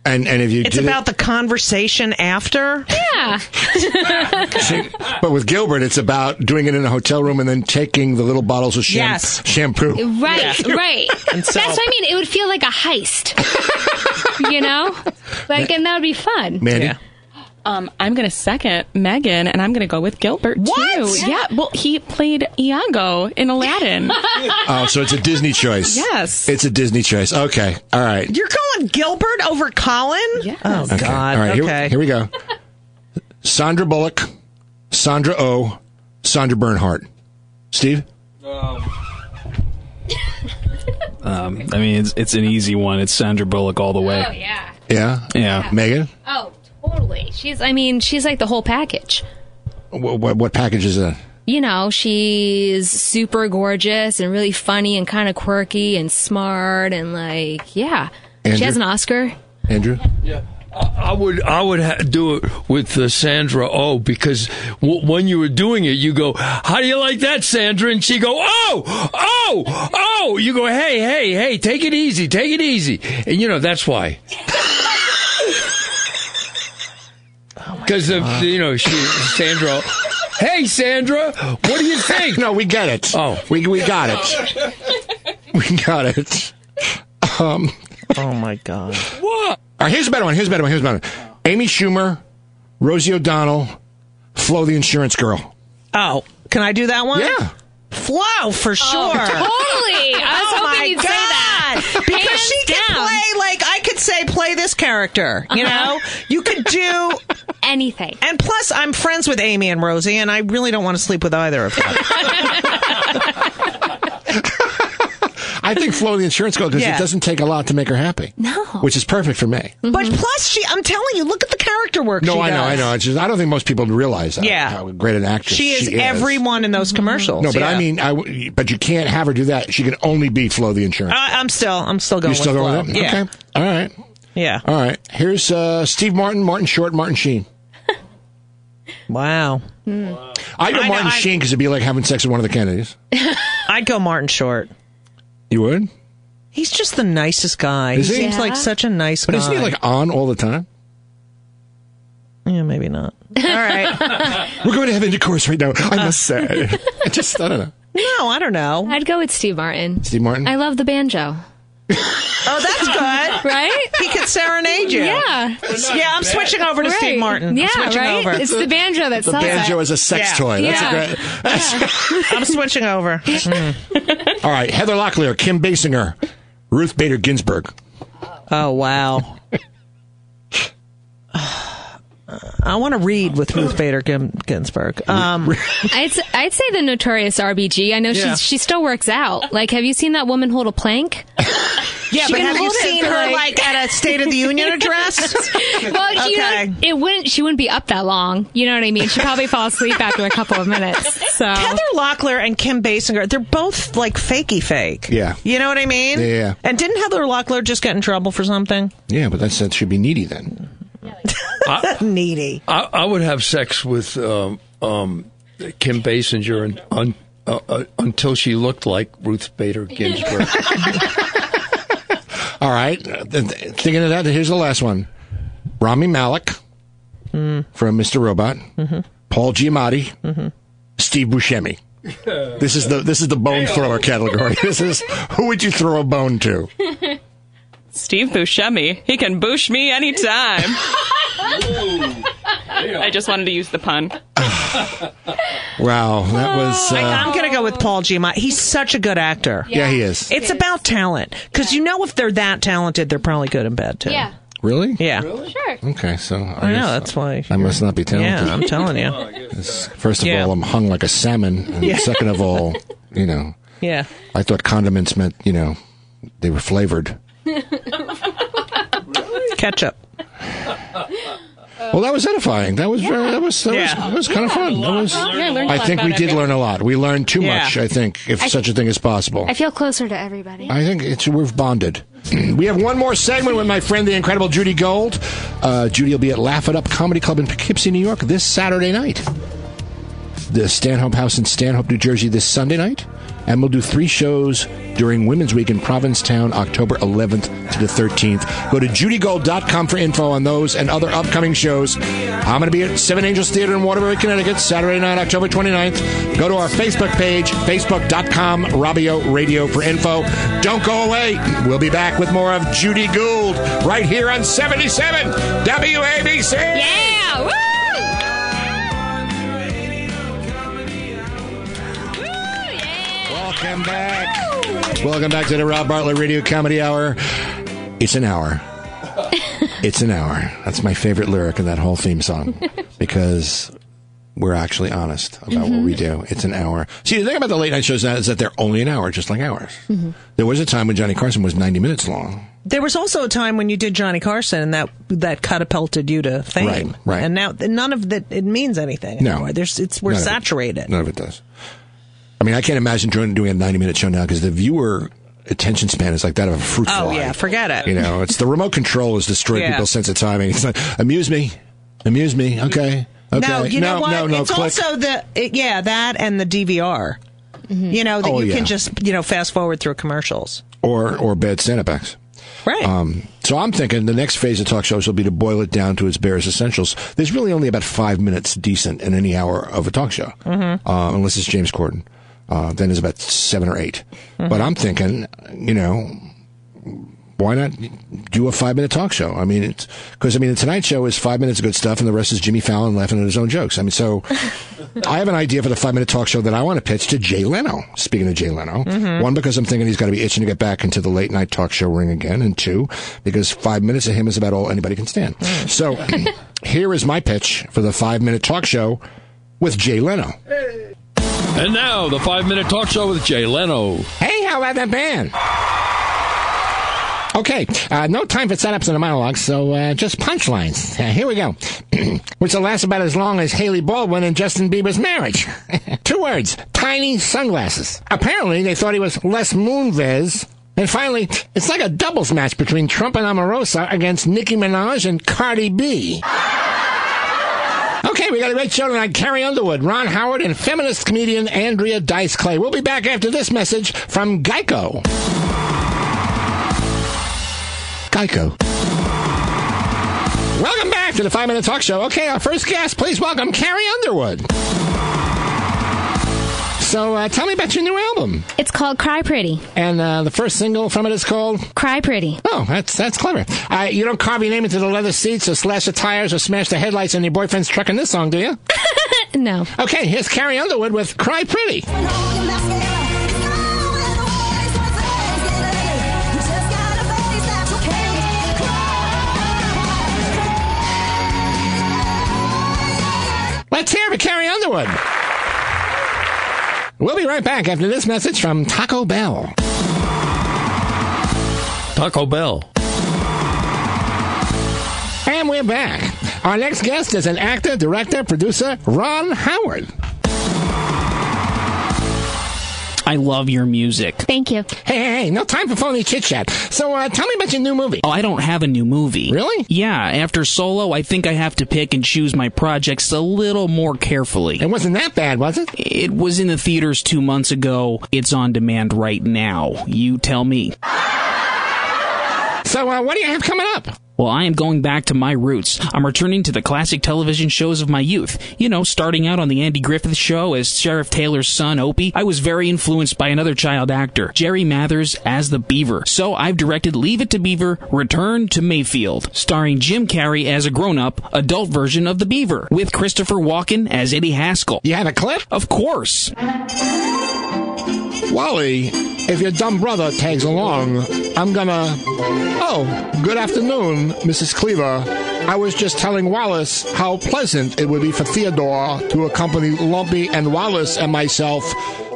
C: And and if you
F: It's
C: did it-
F: about the conversation after.
J: Yeah.
C: See, but with Gilbert, it's about doing it in a hotel room and then taking the little bottles of sham-
F: Yes.
C: shampoo.
J: Right, right.
F: so-
J: That's what I mean. It would feel like a heist, (laughs) you know? Like, and that would be fun.
C: Mandy,
F: Yeah.
H: Um, I'm going to second Megan, and I'm going to go with Gilbert
F: What?
H: too. Yeah, well, he played Iago in
F: (laughs)
H: Aladdin.
C: oh, so it's a Disney choice.
H: Yes.
C: it's a Disney choice. Okay, all right.
F: You're going Gilbert over Colin?
H: Yes.
F: Oh,
C: Okay.
F: God.
C: All right, here-
F: okay.
C: Here, we go. Sandra Bullock, Sandra O, oh, Sandra Bernhardt. Steve,
B: um,
K: Um,
L: I mean, it's, it's an easy one. It's Sandra Bullock all the way.
J: Oh, yeah.
C: yeah,
L: Yeah.
C: Megan.
J: Oh, totally. She's, I mean, she's like the whole package.
C: What, what, what package is that?
J: You know, she's super gorgeous and really funny and kind of quirky and smart and like, yeah. She
C: Andrew?
J: has an Oscar.
C: Andrew.
B: I would I would ha- do it with uh, Sandra Oh because w- when you were doing it, you go, "How do you like that, Sandra?" And she go, "Oh, oh, oh." You go, "Hey, hey, hey, take it easy, take it easy." And you know that's
C: (laughs)
B: why. Because
C: Oh
B: of you know she Sandra.
C: (laughs)
B: Hey, Sandra, what do you think?
C: No, we get it.
B: Oh.
C: we we got it. we got it. Um.
F: Oh, my God.
B: What?
C: All right, here's a better one. Here's a better one. Here's a better one. Amy Schumer, Rosie O'Donnell, Flo the Insurance Girl.
F: Oh, can I do that one?
C: Yeah.
F: Flo, for sure.
J: Oh. (laughs) Totally. I was
F: (laughs) Oh
J: hoping
F: my
J: you'd
F: God. (laughs)
J: say that.
F: Because
J: Hands
F: she could
J: down. Uh-huh.
F: play, like, I could say, play this character, you know? You could do,
J: (laughs) Anything.
F: and plus, I'm friends with Amy and Rosie, and I really don't want to sleep with either
J: (laughs)
F: of them.
C: I think Flo the Insurance Girl because
F: Yeah.
C: it doesn't take a lot to make her happy. No. Which is perfect for me.
F: But
J: Mm-hmm.
F: plus, she, I'm telling you, look at the character work
C: No,
F: she
C: I know, I
F: does.
C: know. It's just, I don't think most people realize that,
F: Yeah.
C: how great an actress
F: She is everyone in
J: Mm-hmm.
F: those commercials.
C: No, but
F: yeah.
C: I mean, I w but you can't have her do that. She can only be Flo the Insurance.
F: I, I'm still, I'm still going
C: You're still
F: with
C: going with
F: Flo.
C: that?
F: Yeah.
C: Okay. All right.
F: Yeah.
C: All right. Here's uh, Steve Martin, Martin Short, Martin Sheen.
F: Wow.
C: I go
F: I know,
C: Martin
F: I-
C: Sheen because it'd be like having sex with one of the Kennedys.
F: (laughs) I'd go Martin Short.
C: You would?
F: He's just the nicest guy.
C: Is
F: he,
C: he?
F: seems
J: Yeah.
F: like such a nice
C: But
F: guy.
C: isn't he like on all the time?
F: yeah, maybe not. All right.
C: We're going to have intercourse right now. I must say. I just, I don't know.
F: (laughs) no, I don't know.
J: I'd go with Steve Martin.
C: Steve Martin?
J: I love the banjo,
F: Oh,
J: (laughs)
F: that's good.
J: right?
F: He could serenade you.
J: Yeah.
F: Yeah, I'm switching over to Steve
J: Right.
F: Martin.
J: Yeah,
F: I'm switching
J: right?
F: over.
J: It's the banjo that
C: the
J: sells
C: banjo
J: it.
C: is a sex
F: Yeah.
C: toy. That's
J: Yeah.
C: a great.
J: (laughs)
C: that's-
F: (laughs) I'm switching over. Mm.
C: all right. Heather Locklear, Kim Basinger, Ruth Bader Ginsburg.
F: Oh, wow. (sighs) I want to read with Ruth Bader Gin- Ginsburg. Um,
J: I'd, s- I'd say the notorious RBG. I know
F: Yeah.
J: she's, she still works out. Like, have you seen that woman hold a plank?
F: (laughs) yeah,
J: She
F: but
J: can
F: have you
J: hold it
F: seen
J: for,
F: her like,
J: like- (laughs)
F: at a State of the Union address?
J: Well, you know,
F: Okay.
J: it wouldn't. She wouldn't be up that long. You know what I mean? She'd probably fall asleep after a couple of minutes. So
F: Heather Locklear and Kim Basinger, they're both like fakey fake.
C: Yeah.
F: You know what I mean?
C: Yeah, yeah.
F: And didn't Heather Locklear just get in trouble for something?
C: Yeah, but that's, that should be needy then.
F: Needy.
B: I, I would have sex with um, um, Kim Basinger and, un, uh, uh, until she looked like Ruth Bader Ginsburg.
C: All right. uh, th- th- Thinking of that, here's the last one Rami Malik
F: Hmm.
C: from Mr. Robot,
F: Mm-hmm.
C: Paul Giamatti, Steve Buscemi. This is the this is the bone thrower category. (laughs) This is who would you throw a bone to?
H: Steve Buscemi. He can boosh me
F: (laughs)
H: anytime. I just wanted to use the pun.
C: Wow, that was uh,
F: I'm going to go with Paul Giamatti. He's such a good actor.
C: yeah, he is.
F: It's about talent because you know if they're that talented, they're probably good in bed too.
J: yeah,
C: Really?
F: Yeah.
J: sure.
C: Okay, so
F: I
C: I,
F: know.
C: guess-
F: That's why.
C: I must not be talented.
F: yeah, I'm telling you.
C: First of
F: Yeah.
C: all, I'm hung like a salmon. And second of all, you know,
F: Yeah.
C: I thought condiments meant, you know, they were flavored.
F: Ketchup.
C: Uh, Well, that was edifying. That was very, that was, that
F: Yeah.
C: was, that was kind of fun. That was,
H: Yeah, I learned a
C: I
H: lot
C: think we
H: about
C: did
H: it.
C: learn a lot. We learned too
F: Yeah.
C: much, I think, if such a thing is possible.
J: I feel closer to everybody.
C: I think it's we've bonded. (clears throat) We have one more segment with my friend, the incredible Judy Gold. Uh, Judy will be at Laugh It Up Comedy Club in Poughkeepsie, New York, this Saturday night. The Stanhope House in Stanhope, New Jersey, this Sunday night, and we'll do three shows during Women's Week in Provincetown, October 11th to the 13th. Go to judygold.com for info on those and other upcoming shows. I'm going to be at Seven Angels Theater in Waterbury, Connecticut, Saturday night, October 29th. Go to our Facebook page, facebook.com, Robbio Radio for info. Don't go away. We'll be back with more of Judy Gould right here on 77 WABC.
J: Yeah! Woo!
C: Welcome back.
F: (laughs)
C: Welcome back to the Rob Bartlett Radio Comedy Hour. It's an hour. it's an hour. That's my favorite lyric in that whole theme song because we're actually honest about what we do. It's an hour. See, the thing about the late night shows now is that they're only an hour, just like ours. There was a time when Johnny Carson was 90 minutes long.
F: Mm-hmm. There was also a time when you did Johnny Carson, and that that catapulted you to fame.
C: Right, right.
F: And now none of that it means anything
C: No.
F: anymore. There's it's we're
C: None of it.
F: saturated.
C: None of it does. I mean, I can't imagine doing doing a 90 minute show now because the viewer attention span is like that of a fruit
F: Oh
C: fly.
F: yeah, forget it.
C: You know, it's the remote control has destroyed
F: Yeah.
C: people's sense of timing. It's like amuse me, amuse me. Okay, okay.
F: No, you know
C: no,
F: what?
C: no, no,
F: it's
C: click.
F: also the it, yeah that and the DVR. You know that
C: Oh,
F: you
C: yeah.
F: can just you know fast forward through commercials.
C: or or bad stand-up acts.
F: Right.
C: Um, so I'm thinking the next phase of talk shows will be to boil it down to its barest essentials. There's really only about five minutes decent in any hour of a talk show,
F: Mm-hmm.
C: uh, unless it's James Corden. Uh, then there's about seven or 8
F: Mm-hmm.
C: But I'm thinking, you know, why not do a five minute talk show? I mean, it's because I mean, the Tonight Show is five minutes of good stuff, and the rest is Jimmy Fallon laughing at his own jokes. I mean,
F: (laughs)
C: so I have an idea for the five minute talk show that I want to pitch to Jay Leno. Speaking of Jay Leno, one because I'm thinking he's got to be itching to get back into the late night talk show ring again, and two because five minutes of him is about all anybody can stand. So here is my pitch for the five minute talk show with Jay Leno.
B: And now, the five minute talk show with Jay Leno.
C: Hey, how about that band? Okay, uh, no time for setups and a monologue, so uh, just punchlines. Uh, here we go. (clears throat) Which will last about as long as Haley Baldwin and Justin Bieber's marriage. (laughs) Two words tiny sunglasses. Apparently, they thought he was Les Moonves. And finally, it's like a doubles match between Trump and Omarosa against Nicki Minaj and Cardi B. Okay, we got a great show tonight. Carrie Underwood, Ron Howard, and feminist comedian Andrea Dice Clay. We'll be back after this message from Geico. Geico. Welcome back to the Five Minute Talk Show. Okay, our first guest, please welcome Carrie Underwood. So, uh, tell me about your new album.
J: It's called Cry Pretty.
C: And uh, the first single from it is called
J: Cry Pretty.
C: Oh, that's that's clever. Uh, you don't carve your name into the leather seats or slash the tires or smash the headlights on your boyfriend's truck in this song, do you?
J: (laughs) No.
C: Okay, here's Carrie Underwood with Cry Pretty. Let's hear it for Carrie Underwood. We'll be right back after this message from Taco Bell.
B: Taco Bell.
C: And we're back. Our next guest is an actor, director, producer, Ron Howard.
K: I love your music.
J: Thank you.
C: Hey, hey, hey, no time for phony chit chat. So uh, tell me about your new movie.
K: Oh, I don't have a new movie.
C: Really?
K: Yeah, after solo, I think I have to pick and choose my projects a little more carefully.
C: It wasn't that bad, was it?
K: It was in the theaters two months ago. It's on demand right now. You tell me.
C: So uh, what do you have coming up?
K: Well, I am going back to my roots. I'm returning to the classic television shows of my youth. You know, starting out on The Andy Griffith Show as Sheriff Taylor's son, Opie, I was very influenced by another child actor, Jerry Mathers as the Beaver. So I've directed Leave It to Beaver, Return to Mayfield, starring Jim Carrey as a grown up, adult version of the Beaver, with Christopher Walken as Eddie Haskell.
C: You have a clip?
K: Of course.
C: Wally, if your dumb brother tags along, I'm gonna. Oh, good afternoon, Mrs. Cleaver. I was just telling Wallace how pleasant it would be for Theodore to accompany Lumpy and Wallace and myself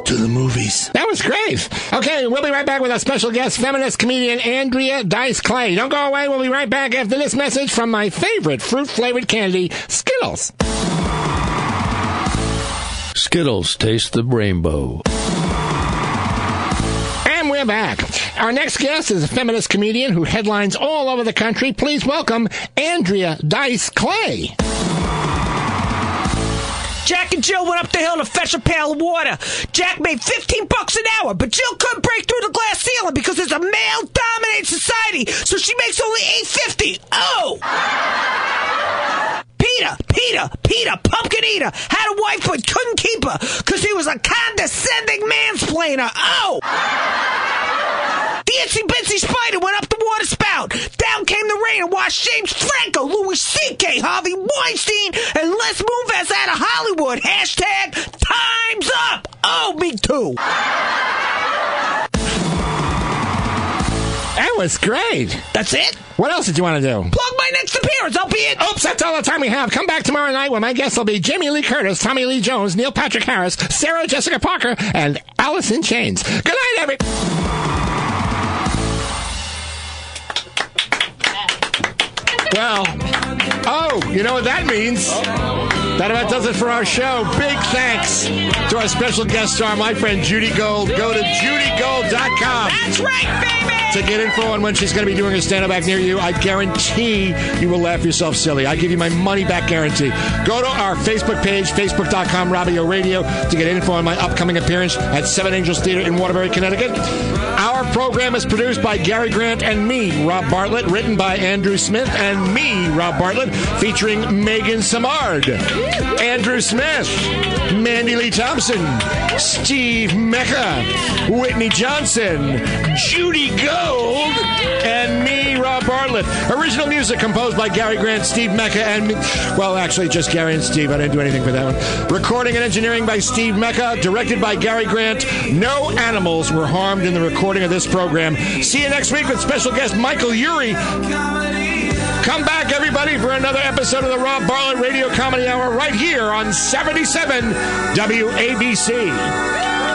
C: to the movies. That was great. Okay, we'll be right back with our special guest, feminist comedian Andrea Dice Clay. Don't go away. We'll be right back after this message from my favorite fruit flavored candy, Skittles.
B: Skittles taste the rainbow.
C: And we're back. Our next guest is a feminist comedian who headlines all over the country. Please welcome Andrea Dice Clay.
I: Jack and Jill went up the hill to fetch a pail of water. Jack made 15 bucks an hour, but Jill couldn't break through the glass ceiling because it's a male-dominated society, so she makes only 850. Oh! Peter, Peter, Peter, pumpkin eater, had a wife but couldn't keep her because he was a condescending mansplainer. Oh! The itsy bitsy spider went up the water spout. Down came the rain and washed James Franco, Louis C.K., Harvey Weinstein, and Les Moonves out of Hollywood. Hashtag time's up. Oh, me too.
C: That was great.
I: That's it?
C: What else did you want to do?
I: Plug my next appearance. I'll be in.
C: Oops, that's all the time we have. Come back tomorrow night when my guests will be Jamie Lee Curtis, Tommy Lee Jones, Neil Patrick Harris, Sarah Jessica Parker, and Alice in Chains. Good night, everybody. Well, oh, you know what that means? That about does it for our show. Big thanks to our special guest star, my friend Judy Gold. Go to judygold.com. That's
I: right,
C: baby! To get info on when she's going to be doing her stand up back near you, I guarantee you will laugh yourself silly. I give you my money back guarantee. Go to our Facebook page, facebook.com, Robbio Radio, to get info on my upcoming appearance at Seven Angels Theater in Waterbury, Connecticut. Our program is produced by Gary Grant and me, Rob Bartlett, written by Andrew Smith and me, Rob Bartlett, featuring Megan Samard, Andrew Smith, Mandy Lee Thompson, Steve Mecca, Whitney Johnson, Judy Gold, and me, Rob Bartlett. Original music composed by Gary Grant, Steve Mecca, and me. Well, actually, just Gary and Steve. I didn't do anything for that one. Recording and engineering by Steve Mecca, directed by Gary Grant. No animals were harmed in the recording of this program. See you next week with special guest Michael Urey. Come back, everybody, for another episode of the Rob Bartlett Radio Comedy Hour right here on 77 WABC.